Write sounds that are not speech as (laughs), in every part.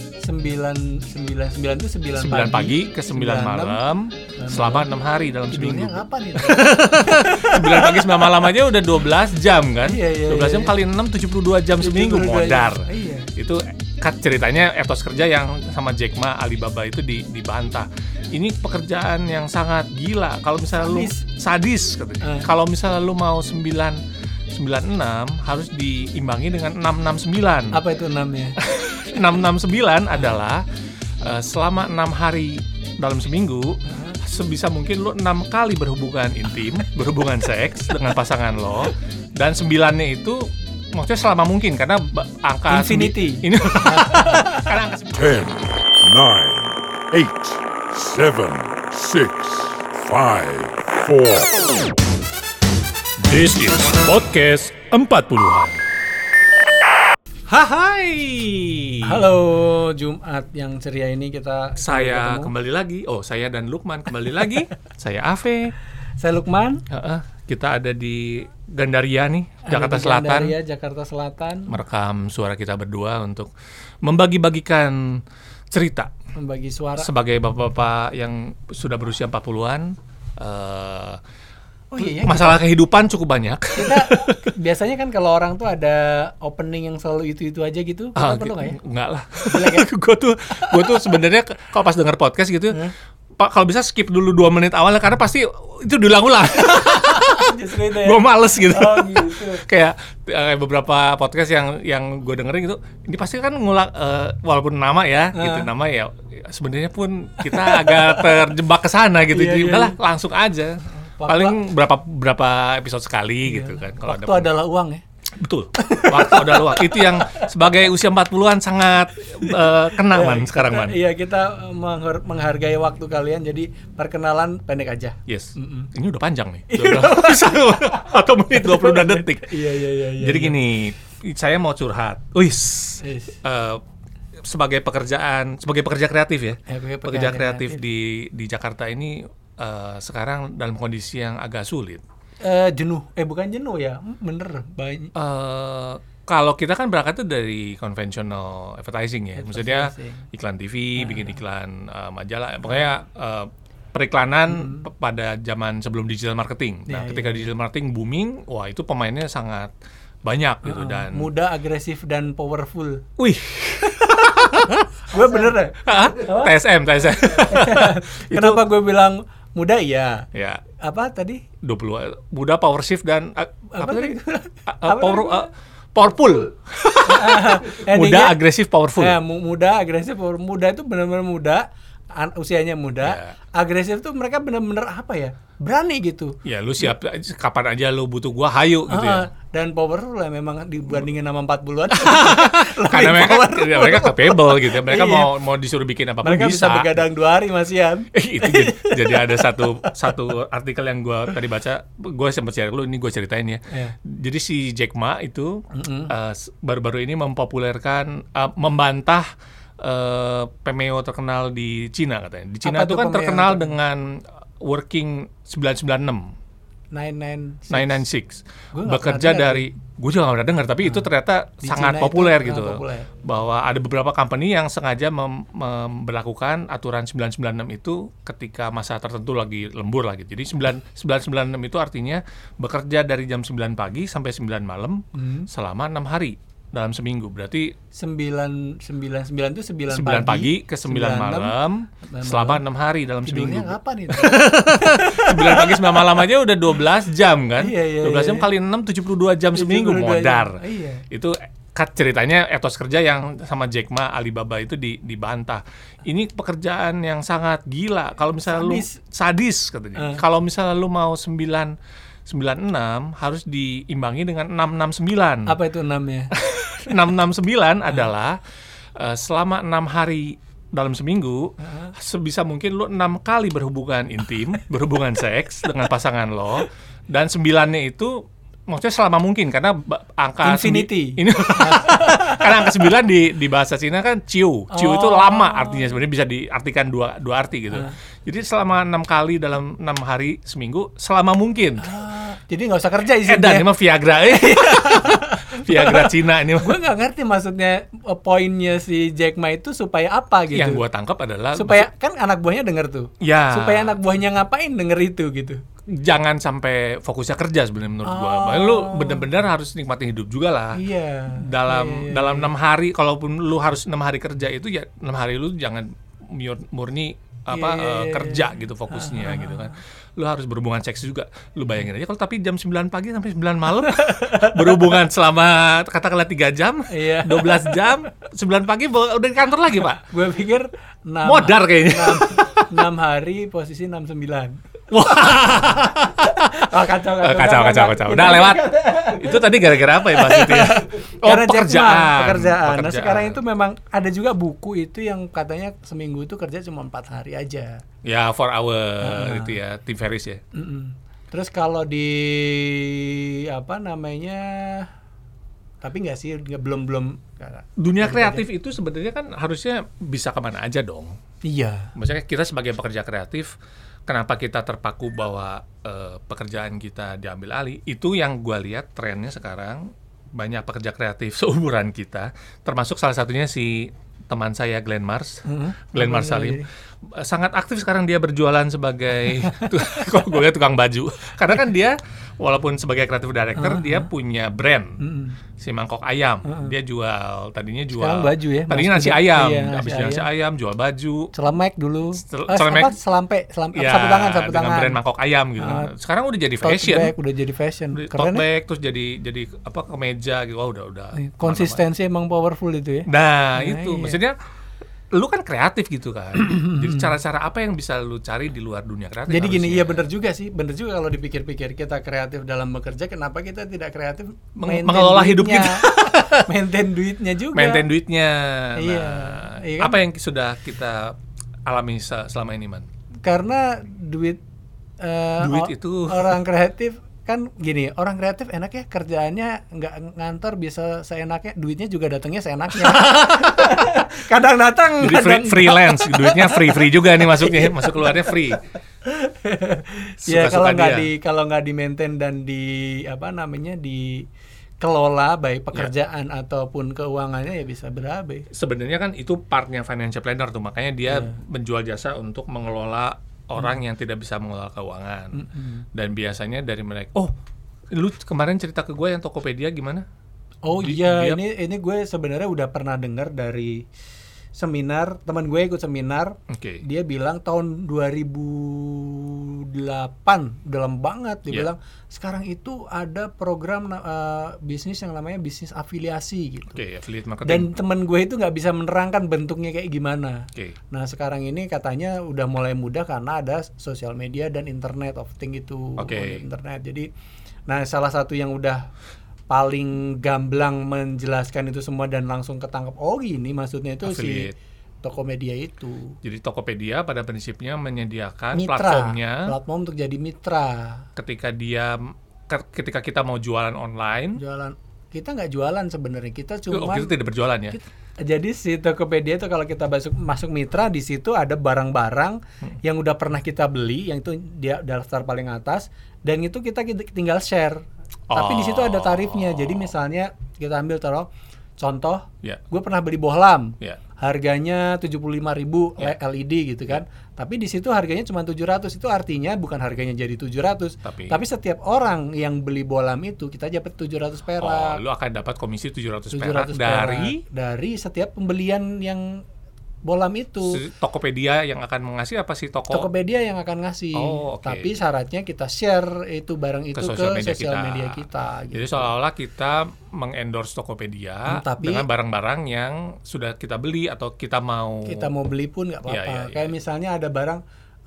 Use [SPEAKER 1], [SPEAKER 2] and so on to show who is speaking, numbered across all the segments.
[SPEAKER 1] 9 9 9 itu 9,
[SPEAKER 2] 9 pagi ke 9 malam selama 6 hari dalam
[SPEAKER 1] Tidurnya
[SPEAKER 2] seminggu.
[SPEAKER 1] kapan ya? itu?
[SPEAKER 2] 9 pagi 9 malam aja udah 12 jam kan?
[SPEAKER 1] Iya, iya,
[SPEAKER 2] 12 jam
[SPEAKER 1] iya.
[SPEAKER 2] kali 6 72 jam (laughs) seminggu
[SPEAKER 1] 72 jam.
[SPEAKER 2] modar.
[SPEAKER 1] Iya.
[SPEAKER 2] Itu kat ceritanya etos kerja yang sama Jack Ma Alibaba itu di, dibantah. Ini pekerjaan yang sangat gila. Kalau misalnya lu sadis katanya.
[SPEAKER 1] Eh.
[SPEAKER 2] Kalau misalnya lu mau 9 96 harus diimbangi dengan 669.
[SPEAKER 1] Apa itu 6 ya?
[SPEAKER 2] (laughs) 669 adalah eh, selama enam hari dalam seminggu sebisa mungkin lo enam kali berhubungan intim, berhubungan seks dengan pasangan lo dan sembilannya itu maksudnya selama mungkin karena ba- angka sembi-
[SPEAKER 1] Infinity.
[SPEAKER 2] ini (laughs) karena angka sembi-
[SPEAKER 3] 10, 9, 8, 7, 6, 5, 4. This is Podcast 40-an.
[SPEAKER 2] Hai, hai.
[SPEAKER 1] Halo, Jumat yang ceria ini kita
[SPEAKER 2] Saya
[SPEAKER 1] ketemu.
[SPEAKER 2] kembali lagi. Oh, saya dan Lukman kembali
[SPEAKER 1] (laughs)
[SPEAKER 2] lagi. saya Ave.
[SPEAKER 1] Saya Lukman
[SPEAKER 2] Heeh, kita ada di Gandaria nih,
[SPEAKER 1] ada
[SPEAKER 2] Jakarta
[SPEAKER 1] di
[SPEAKER 2] Selatan.
[SPEAKER 1] Gandaria, Jakarta Selatan
[SPEAKER 2] merekam suara kita berdua untuk membagi-bagikan cerita
[SPEAKER 1] membagi suara.
[SPEAKER 2] sebagai bapak-bapak yang sudah berusia 40-an.
[SPEAKER 1] Ya,
[SPEAKER 2] eh,
[SPEAKER 1] Oh iya, ya,
[SPEAKER 2] masalah kehidupan cukup banyak.
[SPEAKER 1] kita (laughs) biasanya kan kalau orang tuh ada opening yang selalu itu-itu aja gitu. Kita
[SPEAKER 2] (laughs) Ah,
[SPEAKER 1] perlu
[SPEAKER 2] (laughs)
[SPEAKER 1] nggak ya?
[SPEAKER 2] Enggak lah.
[SPEAKER 1] Jelek
[SPEAKER 2] (laughs)
[SPEAKER 1] ya?
[SPEAKER 2] gue tuh gue tuh sebenarnya ke- kalau pas denger podcast gitu, Pak kalau bisa skip dulu dua menit awal karena pasti itu diulang-ulang. Ah,
[SPEAKER 1] Justru itu ya.
[SPEAKER 2] gue males gitu. (laughs)
[SPEAKER 1] Oh gitu.
[SPEAKER 2] kayak eh, beberapa podcast yang yang gue dengerin gitu ini pasti kan ngulang eh, walaupun nama ya gitu nama ya sebenarnya pun kita agak terjebak ke sana gitu
[SPEAKER 1] Iya,
[SPEAKER 2] jadi
[SPEAKER 1] iya,
[SPEAKER 2] udahlah langsung aja
[SPEAKER 1] Waktu- Iya.
[SPEAKER 2] paling berapa berapa episode sekali gitu kan kalau
[SPEAKER 1] Waktu
[SPEAKER 2] ada
[SPEAKER 1] adalah uang ya.
[SPEAKER 2] betul waktu ada luang itu yang sebagai usia 40-an sangat eh, kena man sekarang man
[SPEAKER 1] Iya, kita menghar- menghargai waktu kalian jadi perkenalan pendek aja.
[SPEAKER 2] yes ini udah panjang nih (laughs) atau menit 22 detik
[SPEAKER 1] Iya, iya, iya,
[SPEAKER 2] Jadi gini, saya mau curhat. Wis.
[SPEAKER 1] Wis.
[SPEAKER 2] Eh, sebagai pekerjaan, sebagai pekerja kreatif ya.
[SPEAKER 1] Ya, sebagai pekerja
[SPEAKER 2] pekerja kreatif di di Jakarta ini eh, sekarang dalam kondisi yang agak sulit.
[SPEAKER 1] Eh, jenuh. Eh bukan jenuh ya. Bener banyak.
[SPEAKER 2] Eh, kalau kita kan berangkatnya dari conventional advertising ya, maksudnya
[SPEAKER 1] Advertising. Nah,
[SPEAKER 2] iklan TV, bikin iklan eh, majalah, pokoknya eh, periklanan
[SPEAKER 1] Hmm.
[SPEAKER 2] pe- pada zaman sebelum digital marketing. Nah,
[SPEAKER 1] Iya,
[SPEAKER 2] ketika digital marketing booming, wah itu pemainnya sangat banyak
[SPEAKER 1] Ah,
[SPEAKER 2] gitu dan
[SPEAKER 1] Muda, agresif dan
[SPEAKER 2] (laughs)
[SPEAKER 1] powerful.
[SPEAKER 2] wih
[SPEAKER 1] Gue bener
[SPEAKER 2] (laughs)
[SPEAKER 1] ya.
[SPEAKER 2] Hah? TSM, TSM.
[SPEAKER 1] Kenapa gue bilang muda iya.
[SPEAKER 2] (laughs) ya,
[SPEAKER 1] Apa tadi?
[SPEAKER 2] 20 Buddha power shift dan ah,
[SPEAKER 1] Apa
[SPEAKER 2] apa, tadi?
[SPEAKER 1] tadi?
[SPEAKER 2] Ah, ah, power ah, powerful. Muda
[SPEAKER 1] Endingnya-
[SPEAKER 2] agresif powerful.
[SPEAKER 1] Ya, mu- muda, agresif, power- muda itu benar-benar muda, an- usianya
[SPEAKER 2] Ya.
[SPEAKER 1] muda. Agresif tuh mereka benar-benar apa ya? Berani gitu.
[SPEAKER 2] Ya lu siap kapan aja lu butuh gua hayu gitu
[SPEAKER 1] Heeh.
[SPEAKER 2] ya.
[SPEAKER 1] Dan powerful ya memang dibandingin sama 40-an. Lebih
[SPEAKER 2] (laughs) Karena mereka
[SPEAKER 1] powerful.
[SPEAKER 2] (laughs) ya, mereka capable gitu. ya. Mereka
[SPEAKER 1] Iya.
[SPEAKER 2] mau mau disuruh bikin apapun
[SPEAKER 1] mereka bisa begadang dua hari masian.
[SPEAKER 2] (laughs) itu jadi, jadi ada satu satu artikel yang gua tadi baca gue sempat share lu ini gue ceritain ya
[SPEAKER 1] Iya.
[SPEAKER 2] jadi si Jack Ma itu eh, s- baru-baru ini mempopulerkan eh, membantah eh, pemeo terkenal di Cina katanya di Cina
[SPEAKER 1] Apa
[SPEAKER 2] itu
[SPEAKER 1] tuh
[SPEAKER 2] kan
[SPEAKER 1] pemeo
[SPEAKER 2] terkenal
[SPEAKER 1] terkenal?
[SPEAKER 2] dengan working 996
[SPEAKER 1] Nine nine.
[SPEAKER 2] 996
[SPEAKER 1] Gua nggak
[SPEAKER 2] bekerja
[SPEAKER 1] pernah dengar Hmm.
[SPEAKER 2] dari gue juga nggak pernah dengar tapi itu ternyata
[SPEAKER 1] Di
[SPEAKER 2] sangat
[SPEAKER 1] Cina itu
[SPEAKER 2] populer
[SPEAKER 1] sangat
[SPEAKER 2] gitu
[SPEAKER 1] populer.
[SPEAKER 2] bahwa ada beberapa company yang sengaja mem- memberlakukan aturan 996 itu ketika masa tertentu lagi lembur lagi jadi 9 996 itu artinya bekerja dari jam 9 pagi sampai 9 malam
[SPEAKER 1] Hmm.
[SPEAKER 2] selama enam hari dalam seminggu berarti
[SPEAKER 1] Sembilan sembilan sembilan itu sembilan,
[SPEAKER 2] 9 pagi, ke 9 malam
[SPEAKER 1] malam.
[SPEAKER 2] selama enam hari dalam
[SPEAKER 1] Tidurnya
[SPEAKER 2] seminggu
[SPEAKER 1] kapan (laughs) itu?
[SPEAKER 2] 9 pagi 9 malam aja udah 12 jam kan.
[SPEAKER 1] Iya, iya,
[SPEAKER 2] 12 jam
[SPEAKER 1] iya.
[SPEAKER 2] kali 6 72 jam seminggu
[SPEAKER 1] 72 jam.
[SPEAKER 2] modar.
[SPEAKER 1] Iya.
[SPEAKER 2] Itu cut ceritanya etos kerja yang sama Jack Ma Alibaba itu di, dibantah. Ini pekerjaan yang sangat gila. Kalau misalnya
[SPEAKER 1] Sadis.
[SPEAKER 2] lu sadis
[SPEAKER 1] Eh.
[SPEAKER 2] katanya. Kalau misalnya lu mau 9 96 harus diimbangi dengan 669.
[SPEAKER 1] apa itu ya? enamnya?
[SPEAKER 2] 669 adalah eh, selama enam hari dalam seminggu sebisa mungkin lo enam kali berhubungan intim, berhubungan seks dengan pasangan lo dan sembilannya itu maksudnya selama mungkin karena ba- angka sembi-
[SPEAKER 1] Infinity.
[SPEAKER 2] ini (laughs) karena angka sembilan di di bahasa Cina kan ciu ciu itu lama artinya sebenarnya bisa diartikan dua dua arti gitu jadi selama enam kali dalam enam hari seminggu selama mungkin
[SPEAKER 1] Ah. Jadi nggak usah kerja ya.
[SPEAKER 2] Eh,
[SPEAKER 1] isinya.
[SPEAKER 2] dan emang Viagra eh. Viagra Cina ini.
[SPEAKER 1] gue nggak ngerti maksudnya eh, poinnya si Jack Ma itu supaya apa gitu
[SPEAKER 2] Yang gua tangkap adalah
[SPEAKER 1] supaya kan anak buahnya denger tuh
[SPEAKER 2] Ya.
[SPEAKER 1] supaya anak buahnya ngapain denger itu gitu
[SPEAKER 2] jangan sampai fokusnya kerja sebenarnya menurut gua. Bahkan Lu bener-bener harus nikmatin hidup juga lah.
[SPEAKER 1] Oh. iya
[SPEAKER 2] Dalam dalam enam hari, kalaupun lu harus enam hari kerja itu ya enam hari lu jangan mur- murni
[SPEAKER 1] Iya, iya,
[SPEAKER 2] apa eh,
[SPEAKER 1] iya, Ah,
[SPEAKER 2] kerja gitu fokusnya gitu kan. Lu harus berhubungan seks juga. Lu bayangin aja kalau tapi jam 9 pagi sampai 9 malam (laughs) berhubungan selama katakanlah 3 jam,
[SPEAKER 1] Iya.
[SPEAKER 2] 12 jam, 9 pagi bo- udah di kantor lagi, Pak.
[SPEAKER 1] gue iya. pikir enam
[SPEAKER 2] Modar
[SPEAKER 1] (laughs)
[SPEAKER 2] kayaknya.
[SPEAKER 1] enam, enam hari posisi
[SPEAKER 2] (laughs)
[SPEAKER 1] 69 Wah, kacau,
[SPEAKER 2] Eh, kacau, kacau, kacau. Udah lewat. itu tadi gara-gara apa ya Mas itu
[SPEAKER 1] (laughs)
[SPEAKER 2] ya? Oh,
[SPEAKER 1] Karena Jack Ma,
[SPEAKER 2] pekerjaan.
[SPEAKER 1] pekerjaan. Nah
[SPEAKER 2] Pekerjaan.
[SPEAKER 1] sekarang itu memang ada juga buku itu yang katanya seminggu itu kerja cuma empat hari aja.
[SPEAKER 2] ya for hour
[SPEAKER 1] Ah.
[SPEAKER 2] itu ya, Tim Ferris ya.
[SPEAKER 1] Mm-mm. Terus kalau di apa namanya, tapi nggak sih nggak- belum belum.
[SPEAKER 2] Dunia kreatif itu sebenarnya kan harusnya bisa kemana aja dong.
[SPEAKER 1] Iya.
[SPEAKER 2] Maksudnya kita sebagai pekerja kreatif, kenapa kita terpaku bahwa eh, pekerjaan kita diambil alih? Itu yang gua lihat trennya sekarang banyak pekerja kreatif (laughs) seumuran kita, termasuk salah satunya si teman saya Glenn Mars,
[SPEAKER 1] Mm-hmm.
[SPEAKER 2] Glenn
[SPEAKER 1] Iya,
[SPEAKER 2] Mars Salim. Eh, Sangat aktif sekarang dia berjualan sebagai (laughs) kok gue lihat tukang baju. Karena kan dia walaupun sebagai kreatif
[SPEAKER 1] Uh-huh.
[SPEAKER 2] director dia punya brand. Si mangkok ayam, dia jual tadinya jual
[SPEAKER 1] Mm-hmm. Sekarang baju ya,
[SPEAKER 2] Tadinya
[SPEAKER 1] Mas
[SPEAKER 2] nasi
[SPEAKER 1] Kuda.
[SPEAKER 2] ayam,
[SPEAKER 1] Iya,
[SPEAKER 2] habis
[SPEAKER 1] nasi
[SPEAKER 2] nasi ayam jual baju,
[SPEAKER 1] Celemek dulu.
[SPEAKER 2] Cel-
[SPEAKER 1] Eh,
[SPEAKER 2] celemek.
[SPEAKER 1] apa? Selampe, selam,
[SPEAKER 2] ya,
[SPEAKER 1] sapu tangan, sapu
[SPEAKER 2] dengan
[SPEAKER 1] tangan. Ah,
[SPEAKER 2] brand mangkok ayam gitu. kan. Sekarang udah jadi
[SPEAKER 1] Tote
[SPEAKER 2] fashion,
[SPEAKER 1] bag, udah jadi fashion.
[SPEAKER 2] Udah tote
[SPEAKER 1] Keren ya?
[SPEAKER 2] bag, terus jadi jadi apa kemeja gitu. Wah, udah udah.
[SPEAKER 1] Konsistensi emang powerful itu ya.
[SPEAKER 2] Nah, itu
[SPEAKER 1] iya.
[SPEAKER 2] maksudnya lu kan kreatif
[SPEAKER 1] (clears throat)
[SPEAKER 2] gitu kan. jadi cara-cara apa yang bisa lu cari di luar dunia kreatif?
[SPEAKER 1] Jadi gini,
[SPEAKER 2] harusnya?
[SPEAKER 1] iya bener juga sih, bener juga kalau dipikir-pikir kita kreatif dalam bekerja, kenapa kita tidak kreatif
[SPEAKER 2] Meng-
[SPEAKER 1] maintain
[SPEAKER 2] mengelola hidup
[SPEAKER 1] duitnya.
[SPEAKER 2] kita.
[SPEAKER 1] (laughs) maintain duitnya juga.
[SPEAKER 2] maintain duitnya.
[SPEAKER 1] Iya,
[SPEAKER 2] Nah,
[SPEAKER 1] iya kan?
[SPEAKER 2] apa yang sudah kita alami se- selama ini,
[SPEAKER 1] (laughs)
[SPEAKER 2] Man?
[SPEAKER 1] Karena duit eh, o-
[SPEAKER 2] Duit itu.
[SPEAKER 1] orang kreatif kan gini, orang kreatif enak ya kerjaannya nggak ngantor bisa seenaknya, duitnya juga datangnya
[SPEAKER 2] (laughs)
[SPEAKER 1] seenaknya. kadang datang,
[SPEAKER 2] Jadi free-
[SPEAKER 1] kadang
[SPEAKER 2] freelance, duitnya free-free juga nih masuknya, masuk keluarnya free.
[SPEAKER 1] (laughs) ya
[SPEAKER 2] Suka-suka
[SPEAKER 1] kalau nggak
[SPEAKER 2] dia.
[SPEAKER 1] di kalau nggak di maintain dan di apa namanya di kelola
[SPEAKER 2] Ya.
[SPEAKER 1] baik pekerjaan ataupun keuangannya ya bisa berabe.
[SPEAKER 2] sebenarnya kan itu partnya financial planner tuh makanya dia menjual jasa untuk mengelola orang yang tidak bisa mengelola keuangan dan biasanya dari mereka oh lu kemarin cerita ke gue yang Tokopedia gimana
[SPEAKER 1] Oh
[SPEAKER 2] Di-
[SPEAKER 1] iya,
[SPEAKER 2] dia-
[SPEAKER 1] ini ini gue sebenarnya udah pernah dengar dari seminar teman gue ikut seminar,
[SPEAKER 2] oke
[SPEAKER 1] dia bilang tahun 2008 dalam banget dia
[SPEAKER 2] Iya.
[SPEAKER 1] bilang sekarang itu ada program na- eh, bisnis yang namanya bisnis afiliasi gitu.
[SPEAKER 2] oke affiliate
[SPEAKER 1] Dan
[SPEAKER 2] marketing
[SPEAKER 1] teman gue itu nggak bisa menerangkan bentuknya kayak gimana.
[SPEAKER 2] oke
[SPEAKER 1] Nah sekarang ini katanya udah mulai mudah karena ada sosial media dan internet of thing itu
[SPEAKER 2] Oke.
[SPEAKER 1] di internet. Jadi, nah salah satu yang udah paling gamblang menjelaskan itu semua dan langsung ketangkep oh gini maksudnya itu
[SPEAKER 2] Affiliate.
[SPEAKER 1] si Tokomedia itu
[SPEAKER 2] jadi Tokopedia pada prinsipnya menyediakan
[SPEAKER 1] mitra
[SPEAKER 2] Kan platformnya
[SPEAKER 1] platform untuk jadi mitra
[SPEAKER 2] ketika dia ke- ketika kita mau jualan online
[SPEAKER 1] jualan kita nggak jualan sebenarnya kita
[SPEAKER 2] oh,
[SPEAKER 1] cuma
[SPEAKER 2] kita tidak berjualan ya
[SPEAKER 1] Jadi si Tokopedia itu kalau kita masuk masuk mitra di situ ada barang-barang
[SPEAKER 2] Hmm.
[SPEAKER 1] yang udah pernah kita beli yang itu dia daftar paling atas dan itu kita kita tinggal share. Tapi di situ ada
[SPEAKER 2] Oh.
[SPEAKER 1] tarifnya. Jadi misalnya kita ambil taruh contoh
[SPEAKER 2] ya
[SPEAKER 1] gue pernah beli bohlam.
[SPEAKER 2] ya
[SPEAKER 1] Harganya 75.000 le- LED gitu
[SPEAKER 2] Ya.
[SPEAKER 1] kan. Tapi di situ harganya cuma 700. Itu artinya bukan harganya jadi 700,
[SPEAKER 2] Tapi-
[SPEAKER 1] tapi setiap orang yang beli bohlam itu kita dapat 700 perak.
[SPEAKER 2] oh lu akan dapat komisi
[SPEAKER 1] 700
[SPEAKER 2] 700, perak
[SPEAKER 1] perak.
[SPEAKER 2] "Ah, dari
[SPEAKER 1] dari setiap pembelian yang bolam itu
[SPEAKER 2] si Tokopedia yang akan mengasih apa sih toko
[SPEAKER 1] Tokopedia yang akan ngasih.
[SPEAKER 2] Oh, oke.
[SPEAKER 1] Tapi syaratnya kita share itu barang itu
[SPEAKER 2] ke
[SPEAKER 1] ke
[SPEAKER 2] sosial media
[SPEAKER 1] sosial
[SPEAKER 2] kita.
[SPEAKER 1] media kita.
[SPEAKER 2] Jadi
[SPEAKER 1] gitu.
[SPEAKER 2] seolah-olah kita mengendorse Tokopedia
[SPEAKER 1] Hmm, tapi-
[SPEAKER 2] dengan barang-barang yang sudah kita beli atau kita mau
[SPEAKER 1] kita mau beli pun nggak apa-apa.
[SPEAKER 2] Iya, iya, iya.
[SPEAKER 1] Kayak misalnya ada barang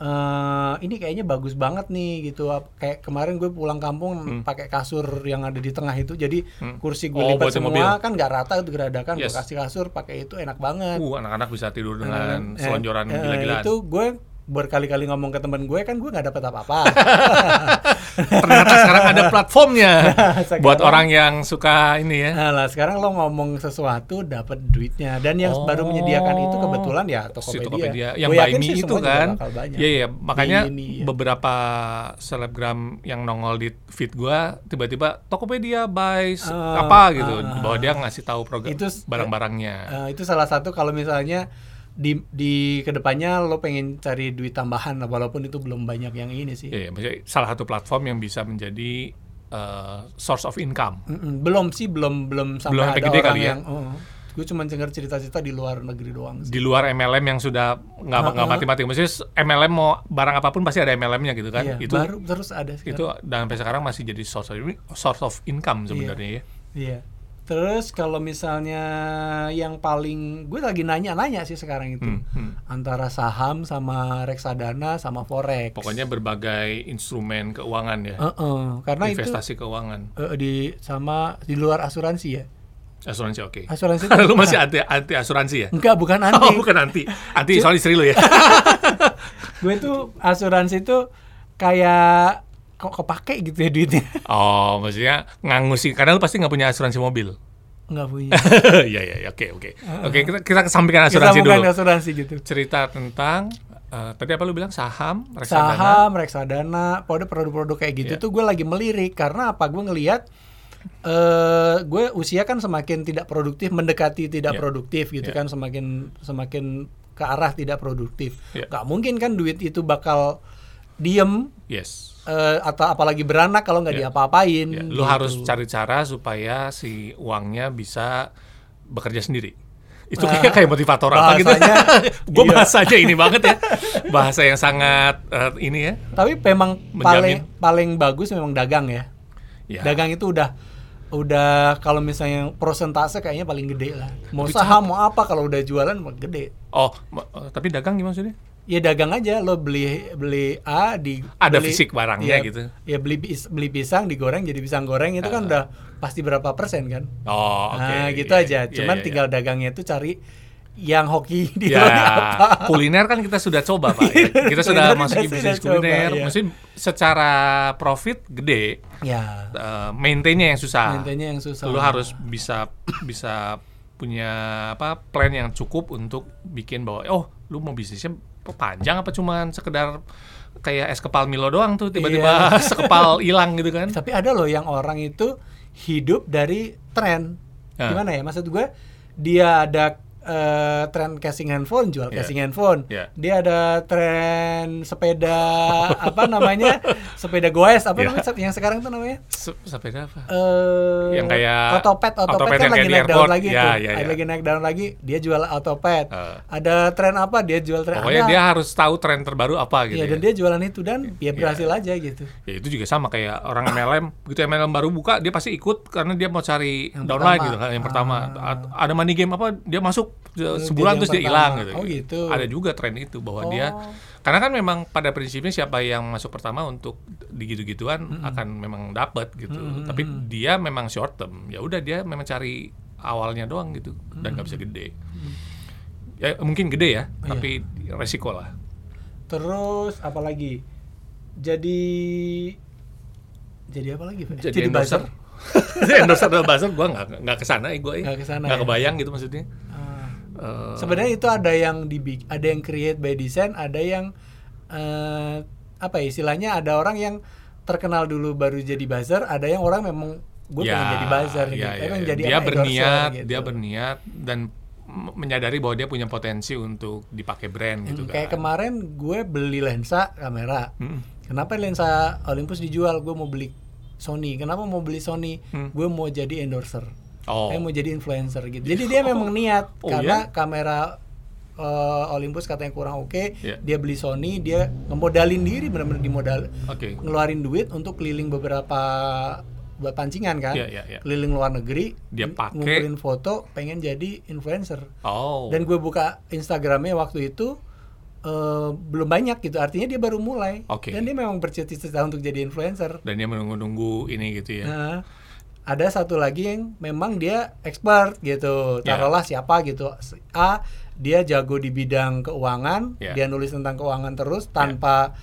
[SPEAKER 1] eh ini kayaknya bagus banget nih gitu. Ap- Kayak kemarin gue pulang kampung pakai kasur yang ada di tengah itu. Jadi kursi gue
[SPEAKER 2] Hmm. Oh,
[SPEAKER 1] lipat
[SPEAKER 2] buat yang
[SPEAKER 1] semua
[SPEAKER 2] mobil.
[SPEAKER 1] kan nggak rata itu geradakan.
[SPEAKER 2] Yes.
[SPEAKER 1] Gue kasih kasur pakai itu enak banget.
[SPEAKER 2] uh anak-anak bisa tidur dengan
[SPEAKER 1] Eh,
[SPEAKER 2] selonjoran
[SPEAKER 1] eh,
[SPEAKER 2] gila-gilaan.
[SPEAKER 1] Itu gue berkali-kali ngomong ke temen gue kan gue nggak dapat apa-apa. (laughs)
[SPEAKER 2] Ternyata sekarang ada platformnya
[SPEAKER 1] (laughs) Sekarang-
[SPEAKER 2] buat orang yang suka ini ya.
[SPEAKER 1] Nah, lah sekarang lo ngomong sesuatu dapat duitnya dan yang
[SPEAKER 2] Oh.
[SPEAKER 1] baru menyediakan itu kebetulan ya
[SPEAKER 2] Si
[SPEAKER 1] Tokopedia.
[SPEAKER 2] Tokopedia. Yang
[SPEAKER 1] Gue
[SPEAKER 2] Buy
[SPEAKER 1] yakin
[SPEAKER 2] Me
[SPEAKER 1] sih
[SPEAKER 2] itu
[SPEAKER 1] semua juga
[SPEAKER 2] kan.
[SPEAKER 1] bakal banyak.
[SPEAKER 2] Iya iya, makanya
[SPEAKER 1] Buy Me, iya.
[SPEAKER 2] beberapa selebgram yang nongol di feed gua tiba-tiba Tokopedia by s-
[SPEAKER 1] Ah,
[SPEAKER 2] apa gitu.
[SPEAKER 1] ah,
[SPEAKER 2] bahwa dia ngasih tahu program
[SPEAKER 1] Itu s-
[SPEAKER 2] barang-barangnya.
[SPEAKER 1] Eh, itu salah satu kalau misalnya di di kedepannya lo pengen cari duit tambahan lah, walaupun itu belum banyak yang ini sih.
[SPEAKER 2] Iya, iya, maksudnya salah satu platform yang bisa menjadi eh, source of income.
[SPEAKER 1] Mm-mm, Belum sih belum belum sampai
[SPEAKER 2] Belum
[SPEAKER 1] ada
[SPEAKER 2] sampai gede
[SPEAKER 1] orang
[SPEAKER 2] kali ya?
[SPEAKER 1] yang oh, gue cuma dengar cerita-cerita di luar negeri doang sih.
[SPEAKER 2] di luar MLM yang sudah nggak nggak mati-mati. Maksudnya s- MLM mau barang apapun pasti ada MLM-nya gitu
[SPEAKER 1] Iya,
[SPEAKER 2] kan. itu
[SPEAKER 1] baru terus ada sih.
[SPEAKER 2] itu dan sampai sekarang masih jadi source of, source of income sebenarnya ya.
[SPEAKER 1] Iya. Terus kalau misalnya yang paling gue lagi nanya-nanya sih sekarang itu
[SPEAKER 2] Hmm, hmm.
[SPEAKER 1] antara saham sama reksadana sama forex.
[SPEAKER 2] Pokoknya berbagai instrumen keuangan ya.
[SPEAKER 1] Heeh, karena
[SPEAKER 2] investasi keuangan.
[SPEAKER 1] itu eh, di sama di luar asuransi ya.
[SPEAKER 2] Asuransi oke.
[SPEAKER 1] Asuransi itu-
[SPEAKER 2] (laughs) lu masih anti anti asuransi ya?
[SPEAKER 1] Enggak, bukan anti.
[SPEAKER 2] Oh, bukan anti. Anti soal istri lu ya.
[SPEAKER 1] Gue tuh asuransi tuh kayak kok kepake gitu ya duitnya. (laughs)
[SPEAKER 2] oh, maksudnya ngangusin karena lu pasti nggak punya asuransi mobil.
[SPEAKER 1] Enggak punya.
[SPEAKER 2] (laughs) Iya, iya, iya, oke, oke. Oke, kita kita kesampingkan
[SPEAKER 1] Kita
[SPEAKER 2] asuransi
[SPEAKER 1] bukan
[SPEAKER 2] dulu.
[SPEAKER 1] asuransi gitu.
[SPEAKER 2] cerita tentang eh, tadi apa lu bilang saham, reksadana.
[SPEAKER 1] saham, reksadana, pada produk-produk kayak gitu
[SPEAKER 2] Iya.
[SPEAKER 1] tuh gue lagi melirik karena apa? Gue ngelihat eh gue usia kan semakin tidak produktif, mendekati tidak
[SPEAKER 2] Iya.
[SPEAKER 1] produktif gitu
[SPEAKER 2] Iya.
[SPEAKER 1] kan semakin semakin ke arah tidak produktif.
[SPEAKER 2] Iya.
[SPEAKER 1] Gak mungkin kan duit itu bakal diem
[SPEAKER 2] Yes.
[SPEAKER 1] eh, atau apalagi beranak kalau nggak
[SPEAKER 2] Iya.
[SPEAKER 1] diapa-apain.
[SPEAKER 2] Ya,
[SPEAKER 1] gitu.
[SPEAKER 2] lu harus cari cara supaya si uangnya bisa bekerja sendiri. Itu kayak kayak motivator apa gitu. (laughs)
[SPEAKER 1] bahasanya-
[SPEAKER 2] Gue
[SPEAKER 1] iya.
[SPEAKER 2] bahasanya ini banget ya. Bahasa yang sangat eh, ini ya.
[SPEAKER 1] Tapi memang
[SPEAKER 2] Menjamin.
[SPEAKER 1] paling paling bagus memang dagang ya.
[SPEAKER 2] Ya.
[SPEAKER 1] Dagang itu udah udah kalau misalnya prosentase kayaknya paling gede lah. Mau
[SPEAKER 2] Tapi
[SPEAKER 1] saham mau apa kalau udah jualan mah gede.
[SPEAKER 2] Oh, ma- eh, tapi dagang gimana maksudnya?
[SPEAKER 1] Ya dagang aja lo beli beli A di
[SPEAKER 2] Ada
[SPEAKER 1] beli-
[SPEAKER 2] fisik
[SPEAKER 1] ya,
[SPEAKER 2] barangnya gitu.
[SPEAKER 1] Ya beli pis- beli pisang digoreng jadi pisang goreng itu kan udah pasti berapa persen kan.
[SPEAKER 2] Oh, oke.
[SPEAKER 1] Nah, gitu
[SPEAKER 2] Iya,
[SPEAKER 1] aja.
[SPEAKER 2] iya,
[SPEAKER 1] Cuman
[SPEAKER 2] iya, iya.
[SPEAKER 1] tinggal dagangnya itu cari yang hoki di
[SPEAKER 2] Ya,
[SPEAKER 1] dalamnya apa.
[SPEAKER 2] kuliner kan kita sudah coba, Pak. Ya, Kita
[SPEAKER 1] Iya.
[SPEAKER 2] sudah
[SPEAKER 1] Kuliner kan
[SPEAKER 2] masukin
[SPEAKER 1] kita
[SPEAKER 2] bisnis
[SPEAKER 1] sudah coba,
[SPEAKER 2] kuliner.
[SPEAKER 1] iya.
[SPEAKER 2] Maksudnya secara profit gede,
[SPEAKER 1] Ya.
[SPEAKER 2] eh, maintainnya yang susah.
[SPEAKER 1] Maintainnya yang susah.
[SPEAKER 2] Lu Ah. harus bisa bisa punya apa plan yang cukup untuk bikin bahwa oh lu mau bisnisnya panjang apa cuman sekedar kayak es kepal Milo doang tuh
[SPEAKER 1] Iya.
[SPEAKER 2] tiba-tiba (laughs) sekepal hilang gitu kan?
[SPEAKER 1] Tapi ada loh yang orang itu hidup dari tren.
[SPEAKER 2] Ah.
[SPEAKER 1] Gimana ya? Maksud gue dia ada eh, tren casing handphone, jual
[SPEAKER 2] Iya.
[SPEAKER 1] casing handphone.
[SPEAKER 2] Iya.
[SPEAKER 1] Dia ada tren
[SPEAKER 2] (laughs)
[SPEAKER 1] sepeda apa namanya? Sepeda goes apa
[SPEAKER 2] Iya.
[SPEAKER 1] namanya? Sep- Yang sekarang tuh namanya?
[SPEAKER 2] Se- Sepeda apa?
[SPEAKER 1] eh
[SPEAKER 2] Yang kayak
[SPEAKER 1] otopet, otopet,
[SPEAKER 2] otopet
[SPEAKER 1] kan
[SPEAKER 2] yang
[SPEAKER 1] lagi
[SPEAKER 2] kayak di
[SPEAKER 1] naik daun
[SPEAKER 2] airport.
[SPEAKER 1] lagi
[SPEAKER 2] Ya,
[SPEAKER 1] tuh.
[SPEAKER 2] ya, ya.
[SPEAKER 1] Lagi naik daun lagi, dia jual otopet.
[SPEAKER 2] Ah.
[SPEAKER 1] Ada tren apa? Dia jual tren
[SPEAKER 2] Pokoknya
[SPEAKER 1] Eh, ada.
[SPEAKER 2] dia harus tahu tren terbaru apa
[SPEAKER 1] Iya,
[SPEAKER 2] gitu. ya. Iya.
[SPEAKER 1] dan dia jualan itu dan dia berhasil aja gitu.
[SPEAKER 2] Ya itu juga sama kayak orang MLM, begitu MLM baru buka dia pasti ikut karena dia mau cari
[SPEAKER 1] Yang
[SPEAKER 2] downline
[SPEAKER 1] pertama.
[SPEAKER 2] gitu kan yang pertama. At- Ada money game apa dia masuk se-
[SPEAKER 1] Terus
[SPEAKER 2] sebulan
[SPEAKER 1] jadi
[SPEAKER 2] terus
[SPEAKER 1] yang
[SPEAKER 2] dia
[SPEAKER 1] pertama.
[SPEAKER 2] hilang gitu.
[SPEAKER 1] Oh, gitu.
[SPEAKER 2] Ada juga tren itu bahwa
[SPEAKER 1] Oh.
[SPEAKER 2] dia karena kan memang pada prinsipnya siapa yang masuk pertama untuk digitu-gituan akan memang dapat gitu. Tapi dia memang short term. Ya udah dia memang cari awalnya doang gitu dan nggak bisa gede. Ya mungkin gede ya,
[SPEAKER 1] Iya.
[SPEAKER 2] tapi resiko lah.
[SPEAKER 1] Terus apa lagi? Jadi jadi apa lagi? Pak?
[SPEAKER 2] jadi endorser. (laughs) endorser atau buzzer gue nggak nggak kesana eh, gue eh.
[SPEAKER 1] Nggak kesana,
[SPEAKER 2] nggak
[SPEAKER 1] ya.
[SPEAKER 2] kebayang gitu maksudnya
[SPEAKER 1] Ah.
[SPEAKER 2] Eh,
[SPEAKER 1] Sebenarnya itu ada yang dibik ada yang create by design, ada yang eh, apa ya istilahnya ada orang yang terkenal dulu baru jadi buzzer, ada yang orang memang gue pengen jadi buzzer
[SPEAKER 2] ya,
[SPEAKER 1] gitu.
[SPEAKER 2] ya,
[SPEAKER 1] Pengen
[SPEAKER 2] ya.
[SPEAKER 1] jadi
[SPEAKER 2] dia
[SPEAKER 1] anak
[SPEAKER 2] berniat
[SPEAKER 1] endorser gitu.
[SPEAKER 2] dia berniat dan m- menyadari bahwa dia punya potensi untuk dipakai brand gitu
[SPEAKER 1] Hmm,
[SPEAKER 2] kan Hmm.
[SPEAKER 1] Kayak kemarin gue beli lensa kamera. Kenapa lensa Olympus dijual? Gue mau beli Sony. Kenapa mau beli Sony?
[SPEAKER 2] Hmm.
[SPEAKER 1] Gue mau jadi endorser.
[SPEAKER 2] Oh.
[SPEAKER 1] Saya mau jadi influencer gitu. Jadi dia memang niat
[SPEAKER 2] Oh,
[SPEAKER 1] karena
[SPEAKER 2] iya?
[SPEAKER 1] kamera eh, Olympus katanya kurang oke,
[SPEAKER 2] Iya.
[SPEAKER 1] dia beli Sony, dia ngemodalin diri benar-benar dimodal
[SPEAKER 2] oke
[SPEAKER 1] ngeluarin duit untuk keliling beberapa buat pancingan kan.
[SPEAKER 2] Iya, iya, iya.
[SPEAKER 1] Keliling luar negeri,
[SPEAKER 2] Dia
[SPEAKER 1] ng-
[SPEAKER 2] pakai.
[SPEAKER 1] ngumpulin foto, pengen jadi influencer
[SPEAKER 2] oh
[SPEAKER 1] dan gue buka Instagramnya waktu itu eh, belum banyak gitu artinya dia baru mulai
[SPEAKER 2] Oke.
[SPEAKER 1] dan dia memang bercita-cita untuk jadi influencer
[SPEAKER 2] dan dia menunggu-nunggu ini gitu ya
[SPEAKER 1] nah, ada satu lagi yang memang dia expert gitu
[SPEAKER 2] Ya.
[SPEAKER 1] taruhlah siapa gitu A dia jago di bidang keuangan,
[SPEAKER 2] Yeah.
[SPEAKER 1] dia nulis tentang keuangan terus tanpa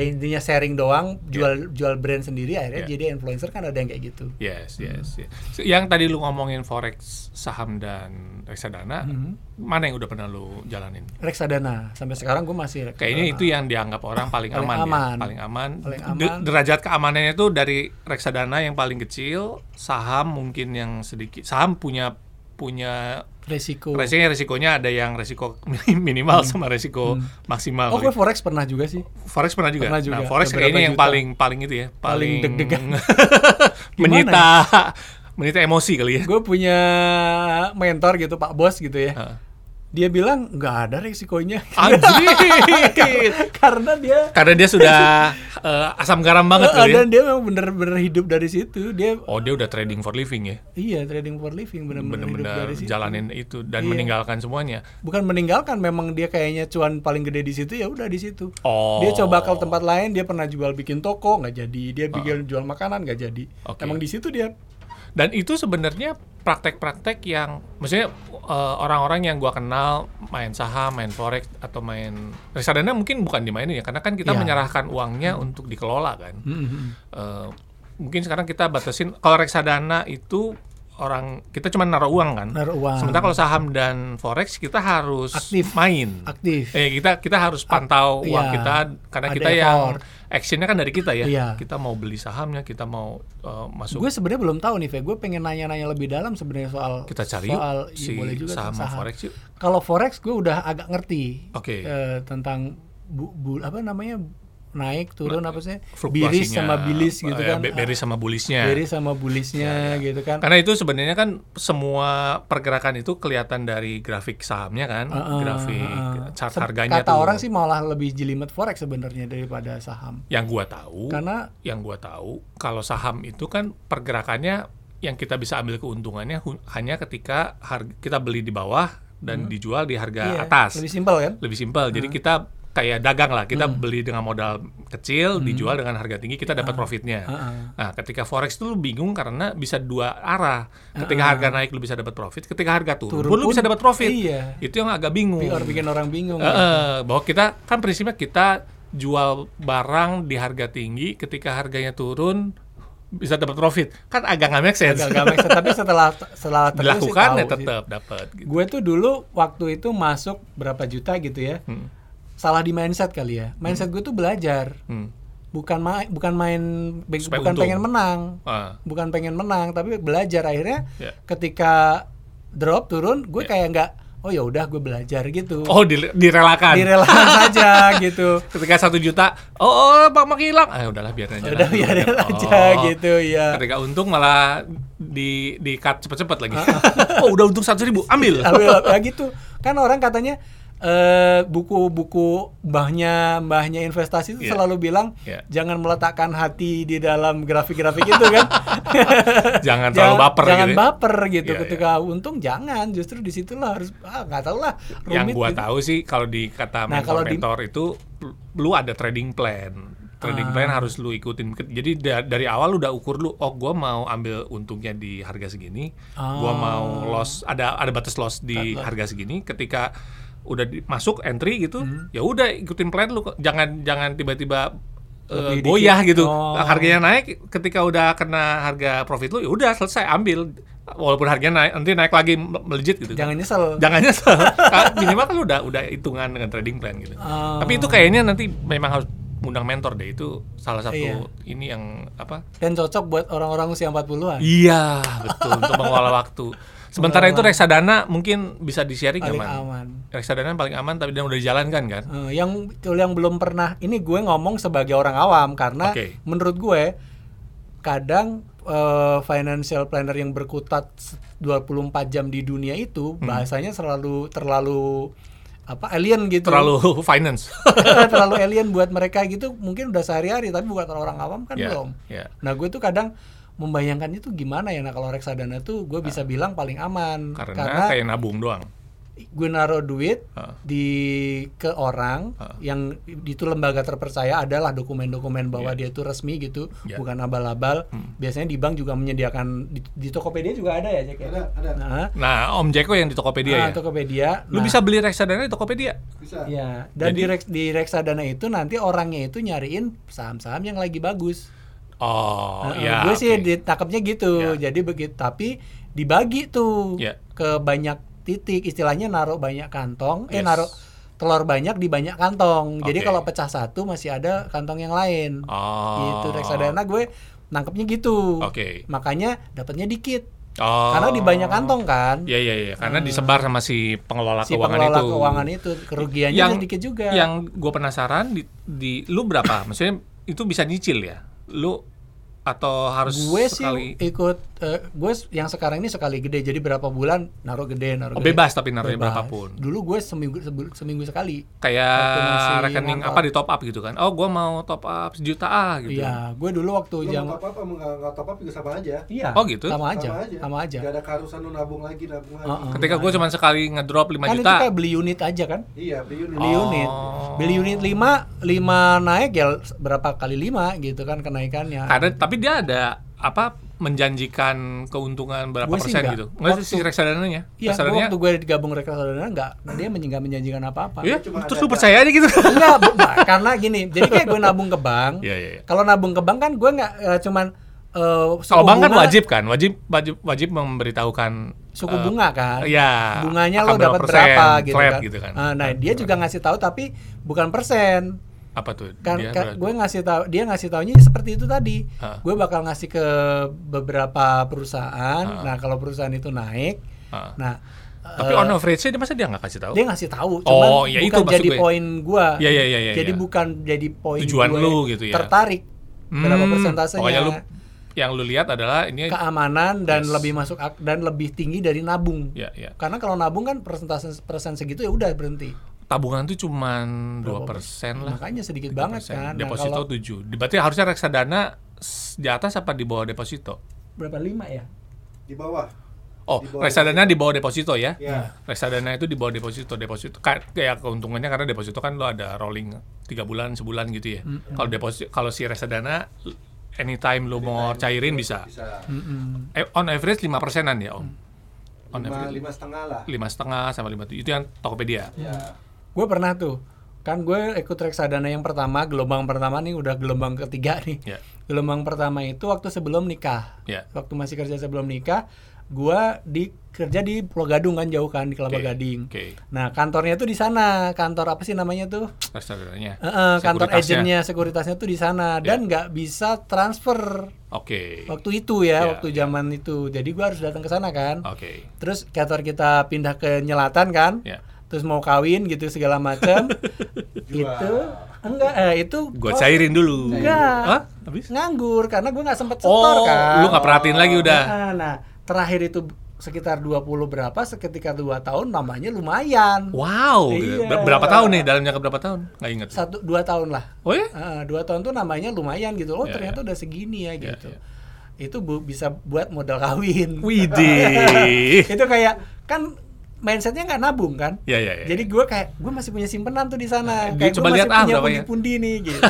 [SPEAKER 1] ya intinya sharing doang, jual jual brand sendiri akhirnya
[SPEAKER 2] Yeah.
[SPEAKER 1] jadi influencer kan ada yang kayak gitu.
[SPEAKER 2] Yes, yes, yes. So, yang tadi lu ngomongin forex, saham dan reksadana,
[SPEAKER 1] Hmm.
[SPEAKER 2] mana yang udah pernah lu jalanin?
[SPEAKER 1] Reksadana sampai sekarang gue masih reksadana.
[SPEAKER 2] Kayaknya itu ya. yang dianggap orang paling,
[SPEAKER 1] Paling
[SPEAKER 2] aman,
[SPEAKER 1] aman.
[SPEAKER 2] ya, paling aman.
[SPEAKER 1] Paling
[SPEAKER 2] De-
[SPEAKER 1] aman.
[SPEAKER 2] derajat keamanannya itu dari reksadana yang paling kecil, saham mungkin yang sedikit. Saham punya punya
[SPEAKER 1] resiko.
[SPEAKER 2] resikonya resikonya ada yang resiko minimal sama resiko maksimal.
[SPEAKER 1] Hmm. Oh, gue forex pernah juga sih.
[SPEAKER 2] forex pernah juga.
[SPEAKER 1] Pernah juga,
[SPEAKER 2] Nah, forex
[SPEAKER 1] beberapa
[SPEAKER 2] kayaknya yang
[SPEAKER 1] juta.
[SPEAKER 2] paling paling itu ya, paling, (laughs)
[SPEAKER 1] deg-degan. ya?
[SPEAKER 2] menyita (laughs) menyita emosi kali
[SPEAKER 1] (laughs)
[SPEAKER 2] ya.
[SPEAKER 1] Gue punya mentor gitu, Pak Bos gitu ya.
[SPEAKER 2] Heeh.
[SPEAKER 1] Dia bilang nggak ada resikonya
[SPEAKER 2] Anjir.
[SPEAKER 1] (laughs) karena dia
[SPEAKER 2] (laughs) Karena dia sudah eh, asam garam banget
[SPEAKER 1] Eh,
[SPEAKER 2] kali ya.
[SPEAKER 1] dan dia memang bener-bener hidup dari situ. Dia
[SPEAKER 2] Oh, dia udah trading for living ya.
[SPEAKER 1] iya trading for living bener-bener hidup
[SPEAKER 2] Bener-bener
[SPEAKER 1] dari situ.
[SPEAKER 2] jalanin itu dan
[SPEAKER 1] Iya.
[SPEAKER 2] meninggalkan semuanya.
[SPEAKER 1] Bukan meninggalkan, memang dia kayaknya cuan paling gede di situ ya udah di situ.
[SPEAKER 2] Oh.
[SPEAKER 1] Dia coba ke tempat lain, dia pernah jual bikin toko nggak jadi, dia bikin jual makanan nggak jadi.
[SPEAKER 2] Ah. Oke.
[SPEAKER 1] Emang di situ dia
[SPEAKER 2] Dan itu sebenarnya praktek-praktek yang maksudnya eh, orang-orang yang gua kenal main saham, main forex atau main reksadana mungkin bukan dimainin ya karena kan
[SPEAKER 1] Iya.
[SPEAKER 2] kita
[SPEAKER 1] Hmm.
[SPEAKER 2] menyerahkan uangnya untuk dikelola kan.
[SPEAKER 1] Mm-hmm.
[SPEAKER 2] Eh, mungkin sekarang kita batasin kalau reksadana itu orang kita cuma naruh uang kan.
[SPEAKER 1] Naruh uang.
[SPEAKER 2] Sementara kalau saham dan forex kita harus
[SPEAKER 1] Aktif.
[SPEAKER 2] main.
[SPEAKER 1] aktif.
[SPEAKER 2] Eh kita kita harus pantau
[SPEAKER 1] Ak-
[SPEAKER 2] uang
[SPEAKER 1] iya.
[SPEAKER 2] kita karena
[SPEAKER 1] Ada
[SPEAKER 2] kita yang
[SPEAKER 1] effort.
[SPEAKER 2] actionnya kan dari kita ya.
[SPEAKER 1] Iya.
[SPEAKER 2] Kita mau beli sahamnya, kita mau eh, masuk.
[SPEAKER 1] Gue sebenarnya belum tahu nih, Fe. Gue pengen nanya-nanya lebih dalam sebenarnya soal
[SPEAKER 2] kita cari yuk
[SPEAKER 1] soal iya,
[SPEAKER 2] si
[SPEAKER 1] boleh juga tuh,
[SPEAKER 2] saham, sama forex yuk.
[SPEAKER 1] Kalau forex gue udah agak ngerti
[SPEAKER 2] Oke.
[SPEAKER 1] eh, tentang bu, bu- apa namanya naik turun apa sih
[SPEAKER 2] Nah, Fluktuasinya,
[SPEAKER 1] biris sama bilis gitu
[SPEAKER 2] eh,
[SPEAKER 1] kan
[SPEAKER 2] be- Ya, bearish sama bullisnya.
[SPEAKER 1] Bearish sama bullisnya gitu kan
[SPEAKER 2] Karena itu sebenarnya kan semua pergerakan itu kelihatan dari grafik sahamnya kan,
[SPEAKER 1] Heeh,
[SPEAKER 2] grafik
[SPEAKER 1] heeh.
[SPEAKER 2] chart
[SPEAKER 1] Se-
[SPEAKER 2] harganya
[SPEAKER 1] kata
[SPEAKER 2] tuh.
[SPEAKER 1] orang sih malah lebih jelimet forex sebenarnya daripada saham
[SPEAKER 2] yang gua tahu,
[SPEAKER 1] Karena-
[SPEAKER 2] yang gua tahu kalau saham itu kan pergerakannya yang kita bisa ambil keuntungannya hu- hanya ketika harga kita beli di bawah dan dijual di harga
[SPEAKER 1] Hmm. Iya,
[SPEAKER 2] ya, atas.
[SPEAKER 1] lebih Hmm. simpel kan
[SPEAKER 2] lebih simpel. Jadi kita kayak dagang lah, kita beli dengan modal
[SPEAKER 1] Hmm.
[SPEAKER 2] kecil, dijual dengan harga tinggi, kita dapat profitnya. Nah, ketika forex tuh lu bingung karena bisa dua arah. Ketika harga naik lu bisa dapat profit, ketika harga
[SPEAKER 1] Hmm.
[SPEAKER 2] turun,
[SPEAKER 1] Turun
[SPEAKER 2] pun lu
[SPEAKER 1] pun,
[SPEAKER 2] bisa dapat profit.
[SPEAKER 1] iya.
[SPEAKER 2] Itu yang agak bingung.
[SPEAKER 1] Bi- orang bikin orang bingung
[SPEAKER 2] Eh, eh,
[SPEAKER 1] Iya.
[SPEAKER 2] bahwa kita kan prinsipnya kita jual barang di harga tinggi, ketika harganya turun bisa dapat profit. Kan agak nggak make sense.
[SPEAKER 1] Agak- agak make sense. tapi setelah setelah terus sih
[SPEAKER 2] Dilakukan
[SPEAKER 1] tahu
[SPEAKER 2] ya
[SPEAKER 1] sih.
[SPEAKER 2] tetap dapat. gitu.
[SPEAKER 1] Gue tuh dulu waktu itu masuk berapa juta gitu ya. Salah di mindset kali ya. Mindset gue tuh belajar.
[SPEAKER 2] Hmm.
[SPEAKER 1] Bukan main bukan main be-
[SPEAKER 2] Supaya
[SPEAKER 1] bukan
[SPEAKER 2] untung.
[SPEAKER 1] pengen menang.
[SPEAKER 2] Ah.
[SPEAKER 1] Bukan pengen menang, tapi belajar akhirnya
[SPEAKER 2] Ya.
[SPEAKER 1] ketika drop turun, gue kayak nggak oh ya udah gue belajar gitu.
[SPEAKER 2] Oh, dile- direlakan.
[SPEAKER 1] Direlakan
[SPEAKER 2] (laughs)
[SPEAKER 1] saja gitu.
[SPEAKER 2] ketika satu juta oh, oh bang mak hilang ah udahlah biarin aja
[SPEAKER 1] Udah
[SPEAKER 2] lah.
[SPEAKER 1] biarin
[SPEAKER 2] Oh.
[SPEAKER 1] aja gitu ya.
[SPEAKER 2] ketika untung malah di di cut cepet-cepet lagi
[SPEAKER 1] Ah.
[SPEAKER 2] (laughs) oh udah untung satu ribu ambil
[SPEAKER 1] Ambil apa gitu. Kan orang katanya eh, buku-buku mbahnya mbahnya investasi itu
[SPEAKER 2] Iya.
[SPEAKER 1] selalu bilang
[SPEAKER 2] Iya.
[SPEAKER 1] jangan meletakkan hati di dalam grafik-grafik itu kan.
[SPEAKER 2] (laughs) jangan terlalu baper
[SPEAKER 1] Jangan
[SPEAKER 2] gitu ya.
[SPEAKER 1] baper gitu
[SPEAKER 2] Iya, iya.
[SPEAKER 1] ketika untung jangan justru di situlah harus ah nggak tahu lah rumit
[SPEAKER 2] yang gua
[SPEAKER 1] gitu.
[SPEAKER 2] tahu sih kalau di kata
[SPEAKER 1] Nah, kalau di-
[SPEAKER 2] mentor-mentor itu lu- lu ada trading plan
[SPEAKER 1] Ah.
[SPEAKER 2] trading plan harus lu ikutin Ke- jadi da- dari awal lu udah ukur lu oh gua mau ambil untungnya di harga segini
[SPEAKER 1] Ah.
[SPEAKER 2] gua mau loss ada ada batas loss di harga segini ketika udah di- masuk entry gitu
[SPEAKER 1] Hmm.
[SPEAKER 2] ya udah ikutin plan lu jangan jangan tiba-tiba
[SPEAKER 1] Lebih
[SPEAKER 2] eh, goyah
[SPEAKER 1] dikit.
[SPEAKER 2] gitu
[SPEAKER 1] Oh.
[SPEAKER 2] harganya naik ketika udah kena harga profit lu ya udah selesai ambil walaupun harganya naik nanti naik lagi me- melejit gitu
[SPEAKER 1] jangan nyesel.
[SPEAKER 2] jangan (laughs) nyesel Ka- minimal kan lu udah udah hitungan dengan trading plan gitu
[SPEAKER 1] Ah.
[SPEAKER 2] tapi itu kayaknya nanti memang harus undang mentor deh itu salah satu
[SPEAKER 1] Iya.
[SPEAKER 2] ini yang apa
[SPEAKER 1] Dan cocok buat orang-orang usia 40-an.
[SPEAKER 2] iya betul untuk mengelola
[SPEAKER 1] (laughs)
[SPEAKER 2] waktu sementara itu reksadana mungkin bisa di sharing
[SPEAKER 1] Paling
[SPEAKER 2] aman
[SPEAKER 1] aman.
[SPEAKER 2] reksadana paling aman tapi dan udah dijalankan kan
[SPEAKER 1] Eh, yang yang belum pernah ini gue ngomong sebagai orang awam karena
[SPEAKER 2] Oke.
[SPEAKER 1] menurut gue kadang eh, financial planner yang berkutat 24 jam di dunia itu
[SPEAKER 2] Hmm.
[SPEAKER 1] bahasanya selalu terlalu apa alien gitu
[SPEAKER 2] terlalu (laughs) finance
[SPEAKER 1] terlalu alien buat mereka gitu mungkin udah sehari-hari tapi bukan orang awam kan
[SPEAKER 2] Ya,
[SPEAKER 1] belum
[SPEAKER 2] ya.
[SPEAKER 1] nah gue tuh kadang
[SPEAKER 2] Ah.
[SPEAKER 1] membayangkan itu gimana ya nah kalau reksadana tuh gue bisa bilang paling aman
[SPEAKER 2] karena, kayak nabung doang
[SPEAKER 1] gue naruh duit
[SPEAKER 2] Heeh.
[SPEAKER 1] di ke orang
[SPEAKER 2] Ah.
[SPEAKER 1] yang itu lembaga terpercaya adalah dokumen-dokumen bahwa
[SPEAKER 2] Ya.
[SPEAKER 1] dia itu resmi gitu,
[SPEAKER 2] Yeah.
[SPEAKER 1] bukan abal-abal.
[SPEAKER 2] Hmm.
[SPEAKER 1] Biasanya di bank juga menyediakan di, di Tokopedia juga ada ya, Jack? ya?
[SPEAKER 4] Ada, ada.
[SPEAKER 1] Nah,
[SPEAKER 2] Nah, Om Jeko yang di Tokopedia
[SPEAKER 1] nah,
[SPEAKER 2] ya.
[SPEAKER 1] Tokopedia. Nah,
[SPEAKER 2] Lu bisa beli reksadana di Tokopedia.
[SPEAKER 4] Bisa.
[SPEAKER 1] Ya, dan di, reks, di reksadana itu nanti orangnya itu nyariin saham-saham yang lagi bagus.
[SPEAKER 2] Oh,
[SPEAKER 1] Nah,
[SPEAKER 2] ya.
[SPEAKER 1] gue sih
[SPEAKER 2] oke.
[SPEAKER 1] ditangkapnya gitu.
[SPEAKER 2] Ya.
[SPEAKER 1] Jadi begitu, tapi dibagi tuh
[SPEAKER 2] Ya.
[SPEAKER 1] ke banyak titik. Istilahnya naruh banyak kantong, eh
[SPEAKER 2] Yes.
[SPEAKER 1] naruh telur banyak di banyak kantong. Jadi
[SPEAKER 2] Oke.
[SPEAKER 1] kalau pecah satu masih ada kantong yang lain.
[SPEAKER 2] Oh.
[SPEAKER 1] Gitu reksadana gue nangkepnya gitu.
[SPEAKER 2] Oke.
[SPEAKER 1] Makanya dapatnya dikit.
[SPEAKER 2] Oh.
[SPEAKER 1] Karena di banyak kantong kan.
[SPEAKER 2] Iya, iya, iya. Karena disebar sama si pengelola
[SPEAKER 1] Si
[SPEAKER 2] keuangan
[SPEAKER 1] pengelola
[SPEAKER 2] itu.
[SPEAKER 1] keuangan itu kerugiannya sedikit juga.
[SPEAKER 2] Yang iya, gue penasaran di, di- lu berapa? Maksudnya itu bisa nyicil ya? Lu atau harus
[SPEAKER 1] gue sih
[SPEAKER 2] sekali
[SPEAKER 1] ikut eh, gue s- yang sekarang ini sekali gede jadi berapa bulan naruh gede naruh
[SPEAKER 2] Oh,
[SPEAKER 1] gede.
[SPEAKER 2] bebas tapi naruhnya
[SPEAKER 1] Bebas.
[SPEAKER 2] berapapun.
[SPEAKER 1] dulu gue seminggu sebul- seminggu sekali waktu masih
[SPEAKER 2] kayak rekening
[SPEAKER 1] ngangkot.
[SPEAKER 2] apa di top up gitu kan? Oh, gue mau top up sejuta ah gitu.
[SPEAKER 1] iya gue dulu waktu
[SPEAKER 4] Lu
[SPEAKER 1] jam
[SPEAKER 4] mau top up apa nggak nggak top up juga sama aja.
[SPEAKER 1] iya
[SPEAKER 2] Oh, gitu?
[SPEAKER 1] sama aja sama aja,
[SPEAKER 4] Gak ada keharusan lu nabung lagi, nabung lagi.
[SPEAKER 1] Heeh.
[SPEAKER 2] Ketika gue cuma sekali ngedrop
[SPEAKER 1] Iya.
[SPEAKER 2] 5
[SPEAKER 1] kan itu
[SPEAKER 2] juta. Oh.
[SPEAKER 1] kayak beli unit aja kan
[SPEAKER 4] Iya, beli unit.
[SPEAKER 1] beli unit beli unit 5 5 naik ya berapa kali 5 gitu kan kenaikannya
[SPEAKER 2] Karena tapi dia ada apa menjanjikan keuntungan berapa
[SPEAKER 1] Gua sih
[SPEAKER 2] persen
[SPEAKER 1] nggak.
[SPEAKER 2] gitu. Enggak sih
[SPEAKER 1] Waktu-
[SPEAKER 2] reksadananya.
[SPEAKER 1] Iya, gua
[SPEAKER 2] Reksadananya-
[SPEAKER 1] waktu gue digabung reksadana nggak, dia menjengga menjanjikan apa-apa.
[SPEAKER 2] Iya,
[SPEAKER 4] Cuma
[SPEAKER 2] terus lu
[SPEAKER 4] ada-
[SPEAKER 2] percaya aja gitu.
[SPEAKER 1] Enggak, bu- Mbak, karena gini. Jadi kayak gue nabung ke bank.
[SPEAKER 2] Iya, iya, iya.
[SPEAKER 1] Kalau nabung ke bank kan gue nggak eh, cuman eh, suku
[SPEAKER 2] Kalau bank kan
[SPEAKER 1] bunga-
[SPEAKER 2] wajib kan, wajib wajib wajib memberitahukan
[SPEAKER 1] suku
[SPEAKER 2] eh,
[SPEAKER 1] bunga kan.
[SPEAKER 2] Iya.
[SPEAKER 1] Bunganya
[SPEAKER 2] akan
[SPEAKER 1] lo dapat
[SPEAKER 2] persen,
[SPEAKER 1] berapa gitu
[SPEAKER 2] flat
[SPEAKER 1] kan.
[SPEAKER 2] gitu kan.
[SPEAKER 1] Ah, nah, dia juga ngasih tahu tapi bukan persen.
[SPEAKER 2] apa tuh?
[SPEAKER 1] Kan,
[SPEAKER 2] Dia
[SPEAKER 1] kan
[SPEAKER 2] berapa?
[SPEAKER 1] gue ngasih tahu dia ngasih taunya seperti itu tadi.
[SPEAKER 2] Ah.
[SPEAKER 1] Gue bakal ngasih ke beberapa perusahaan. Nah, kalau perusahaan itu naik,
[SPEAKER 2] Ah.
[SPEAKER 1] nah
[SPEAKER 2] Tapi on average-nya dia masa dia nggak kasih tahu?
[SPEAKER 1] dia ngasih tahu
[SPEAKER 2] Oh,
[SPEAKER 1] cuman
[SPEAKER 2] ya itu
[SPEAKER 1] bukan
[SPEAKER 2] maksud
[SPEAKER 1] jadi
[SPEAKER 2] gue.
[SPEAKER 1] poin gua
[SPEAKER 2] Ya, ya, ya, ya,
[SPEAKER 1] jadi
[SPEAKER 2] ya.
[SPEAKER 1] bukan jadi poin
[SPEAKER 2] Tujuan
[SPEAKER 1] gue
[SPEAKER 2] lu gitu ya.
[SPEAKER 1] tertarik
[SPEAKER 2] Hmm,
[SPEAKER 1] berapa persentasenya
[SPEAKER 2] Pokoknya lu yang lu lihat adalah ini
[SPEAKER 1] keamanan dan
[SPEAKER 2] Yes.
[SPEAKER 1] lebih masuk ak- dan lebih tinggi dari nabung
[SPEAKER 2] ya ya.
[SPEAKER 1] karena kalau nabung kan persentase persen segitu ya udah berhenti
[SPEAKER 2] Tabungan tuh cuman 2% lah.
[SPEAKER 1] makanya sedikit banget kan Nah,
[SPEAKER 2] Deposito
[SPEAKER 1] kalau
[SPEAKER 2] 7. Berarti harusnya reksadana s- di atas apa di bawah deposito?
[SPEAKER 1] berapa lima ya
[SPEAKER 4] Di bawah.
[SPEAKER 2] Oh,
[SPEAKER 4] Di bawah
[SPEAKER 2] reksadana di bawah deposito ya?
[SPEAKER 4] Ya.
[SPEAKER 2] Reksadana itu di bawah deposito, deposito ka- kayak keuntungannya karena deposito kan lo ada rolling tiga bulan, sebulan gitu ya. Kalau deposito, kalau si reksadana l- anytime lo mau cairin bisa.
[SPEAKER 4] Bisa.
[SPEAKER 2] Eh, on average 5 persenan ya om? On
[SPEAKER 4] Lima,
[SPEAKER 2] average
[SPEAKER 4] lima setengah lah.
[SPEAKER 2] lima setengah sama lima tujuh itu yang Tokopedia.
[SPEAKER 4] Ya.
[SPEAKER 1] gue pernah tuh kan gue ikut reksadana yang pertama gelombang pertama nih udah gelombang ketiga nih
[SPEAKER 2] Ya,
[SPEAKER 1] gelombang pertama itu waktu sebelum nikah
[SPEAKER 2] ya.
[SPEAKER 1] waktu masih kerja sebelum nikah, gua di kerja di Pulau Gadung kan jauh kan di Kelapa
[SPEAKER 2] Oke,
[SPEAKER 1] Gading.
[SPEAKER 2] Oke,
[SPEAKER 1] Nah kantornya tuh di sana, kantor apa sih namanya tuh?
[SPEAKER 2] reksadananya.
[SPEAKER 1] Eh, eh, kantor
[SPEAKER 2] Sekuritasnya. Ya.
[SPEAKER 1] agennya, sekuritasnya tuh di sana dan nggak bisa transfer
[SPEAKER 2] Oke,
[SPEAKER 1] waktu itu ya,
[SPEAKER 2] Iya,
[SPEAKER 1] waktu zaman itu. Jadi gua harus datang ke sana kan.
[SPEAKER 2] oke,
[SPEAKER 1] Terus kantor kita pindah ke Nyelatan kan.
[SPEAKER 2] ya.
[SPEAKER 1] Terus mau kawin gitu segala macam.
[SPEAKER 2] (laughs)
[SPEAKER 1] itu enggak eh, itu
[SPEAKER 2] Gua
[SPEAKER 1] kos
[SPEAKER 2] cairin dulu.
[SPEAKER 1] Enggak.
[SPEAKER 2] Hah? Habis?
[SPEAKER 1] nganggur karena gua nggak sempet setor
[SPEAKER 2] Oh,
[SPEAKER 1] kan.
[SPEAKER 2] lu nggak perhatiin lagi udah.
[SPEAKER 1] Nah, nah, terakhir itu sekitar 20 berapa seketika 2 tahun namanya lumayan.
[SPEAKER 2] Wow,
[SPEAKER 1] Iya.
[SPEAKER 2] ber- berapa tahun nih? Dalam jangka berapa tahun? Nggak inget.
[SPEAKER 1] Satu dua tahun lah.
[SPEAKER 2] Oh ya?
[SPEAKER 1] Heeh, dua tahun tuh namanya lumayan gitu. Oh,
[SPEAKER 2] Ya,
[SPEAKER 1] ternyata udah segini ya
[SPEAKER 2] Ya,
[SPEAKER 1] gitu. Itu bu- bisa buat modal kawin.
[SPEAKER 2] Widih.
[SPEAKER 1] (laughs) itu kayak kan mindsetnya nggak nabung kan?
[SPEAKER 2] ya ya ya.
[SPEAKER 1] Jadi gue kayak gue masih punya simpenan tuh di sana.
[SPEAKER 2] Nah,
[SPEAKER 1] kayak
[SPEAKER 2] duit coba
[SPEAKER 1] gue masih
[SPEAKER 2] lihat ah
[SPEAKER 1] punya
[SPEAKER 2] berapa ya.
[SPEAKER 1] pundi-pundi nih
[SPEAKER 2] (laughs)
[SPEAKER 1] gitu.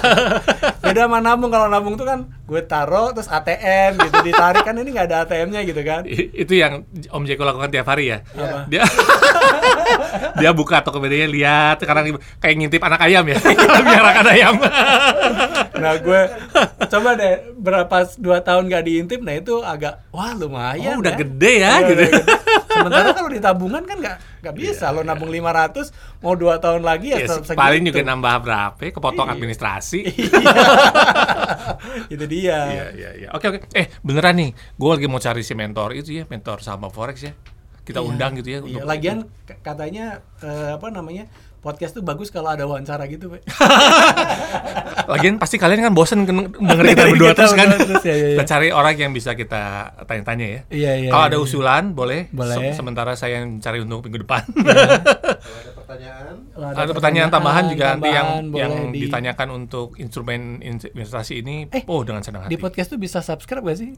[SPEAKER 1] Beda sama nabung kalau nabung tuh kan gue taruh terus ATM gitu ditarik kan ini nggak ada ATM-nya gitu kan.
[SPEAKER 2] I- itu yang Om Jeko lakukan tiap hari ya.
[SPEAKER 1] Apa?
[SPEAKER 2] Dia (laughs) dia buka Tokopedia lihat sekarang kayak ngintip anak ayam ya. (laughs) Biar akan ayam.
[SPEAKER 1] Nah gue coba deh berapa s- dua tahun gak diintip, nah itu agak wah lumayan.
[SPEAKER 2] oh, udah
[SPEAKER 1] ya.
[SPEAKER 2] gede ya
[SPEAKER 1] Udah-
[SPEAKER 2] gitu.
[SPEAKER 1] udah gede. Sementara kalau di tabungan kan nggak nggak
[SPEAKER 2] Iya,
[SPEAKER 1] bisa lo nabung 500 mau dua tahun lagi ya,
[SPEAKER 2] Ya,
[SPEAKER 1] se- segitu.
[SPEAKER 2] paling
[SPEAKER 1] (laughs)
[SPEAKER 2] juga nambah berapa? Kepotong
[SPEAKER 1] Iya.
[SPEAKER 2] administrasi.
[SPEAKER 1] itu dia.
[SPEAKER 2] Iya iya iya. Oke oke. Eh beneran nih, gue lagi mau cari si mentor itu ya, mentor sama forex ya. Kita undang gitu ya.
[SPEAKER 1] Iya,
[SPEAKER 2] untuk-
[SPEAKER 1] Lagian k- katanya eh, apa namanya podcast tuh bagus kalau ada wawancara gitu. Pak.
[SPEAKER 2] (laughs) Lagian pasti kalian kan bosen ken- denger kita
[SPEAKER 1] Dengerin
[SPEAKER 2] berdua
[SPEAKER 1] Iya, kita
[SPEAKER 2] terus kan.
[SPEAKER 1] berdua terus, ya, ya, ya.
[SPEAKER 2] Kita cari orang yang bisa kita tanya-tanya ya.
[SPEAKER 1] Iya, iya,
[SPEAKER 2] Kalau
[SPEAKER 1] iya,
[SPEAKER 2] ada
[SPEAKER 1] iya.
[SPEAKER 2] usulan boleh.
[SPEAKER 1] Boleh. Iya,
[SPEAKER 2] Se- sementara saya yang cari untuk minggu depan.
[SPEAKER 4] Kalau ada pertanyaan,
[SPEAKER 1] Kalau
[SPEAKER 2] (laughs) ada pertanyaan tambahan juga nanti yang
[SPEAKER 1] tambahan, boleh
[SPEAKER 2] yang
[SPEAKER 1] di-
[SPEAKER 2] ditanyakan untuk instrumen investasi ini.
[SPEAKER 1] Eh,
[SPEAKER 2] oh dengan senang
[SPEAKER 1] Di
[SPEAKER 2] hati.
[SPEAKER 1] podcast tuh bisa subscribe gak sih?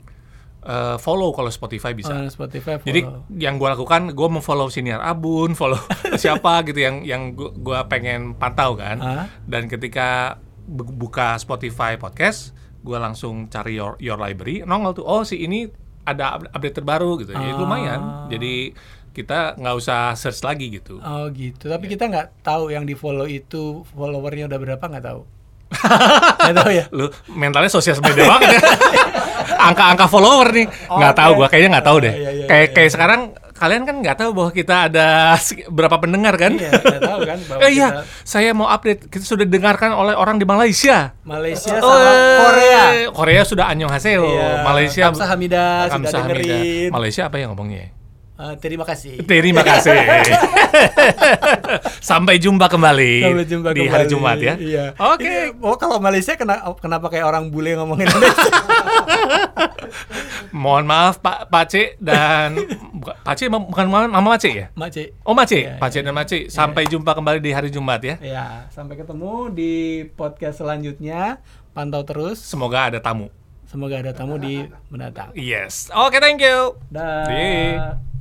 [SPEAKER 2] eh, follow kalau Spotify bisa.
[SPEAKER 1] Oh, Spotify follow.
[SPEAKER 2] Jadi yang gua lakukan, gua memfollow senior Abun, follow siapa gitu yang yang gua, gua pengen pantau kan.
[SPEAKER 1] Ah.
[SPEAKER 2] Dan ketika bu- buka Spotify podcast, gua langsung cari your your library, nongol tuh, oh si ini ada up- update terbaru gitu. Jadi lumayan. Jadi kita nggak usah search lagi gitu.
[SPEAKER 1] Oh gitu. Tapi kita nggak tahu yang di follow itu followernya udah berapa nggak
[SPEAKER 2] (laughs)
[SPEAKER 1] tahu. nggak tahu ya.
[SPEAKER 2] Lu mentalnya sosial media banget ya. (laughs) Angka-angka follower nih. Nggak tahu gua kayaknya nggak tahu deh.
[SPEAKER 1] Oh, Iya, iya,
[SPEAKER 2] kayak kayak sekarang kalian kan nggak tahu bahwa kita ada sek- berapa pendengar kan?
[SPEAKER 1] Iya, nggak tahu kan. bahwa
[SPEAKER 2] Eh iya,
[SPEAKER 1] kita
[SPEAKER 2] saya mau update. Kita sudah dengarkan oleh orang di Malaysia.
[SPEAKER 1] Malaysia sama
[SPEAKER 2] Eh,
[SPEAKER 1] Korea. Iya.
[SPEAKER 2] Korea sudah annyeonghaseyo. Malaysia
[SPEAKER 1] Kamsa Hamida sudah
[SPEAKER 2] Kamsahamnida.
[SPEAKER 1] dengerin.
[SPEAKER 2] Malaysia apa yang ngomongnya? ya?
[SPEAKER 1] Eh, terima kasih.
[SPEAKER 2] Terima
[SPEAKER 1] (laughs)
[SPEAKER 2] kasih. Sampai jumpa kembali
[SPEAKER 1] Sampai jumpa
[SPEAKER 2] di
[SPEAKER 1] kembali.
[SPEAKER 2] hari Jumat ya.
[SPEAKER 1] Iya.
[SPEAKER 2] Oke.
[SPEAKER 1] Ini, Oh kalau Malaysia kena, kenapa kayak orang bule ngomongin Indonesia?
[SPEAKER 2] (laughs) Mohon maaf Pak Pace dan (laughs) bukan- Pace ma- bukan Mama Mama Pace ya?
[SPEAKER 1] Mak Ci.
[SPEAKER 2] Oh Mace,
[SPEAKER 1] Iya,
[SPEAKER 2] Pace dan Mace. Sampai jumpa kembali di hari Jumat ya.
[SPEAKER 1] Ya, sampai ketemu di podcast selanjutnya. Pantau terus.
[SPEAKER 2] Semoga ada tamu.
[SPEAKER 1] Semoga ada tamu di mendatang.
[SPEAKER 2] Yes. Oke, thank you.
[SPEAKER 1] Dah.
[SPEAKER 2] Di.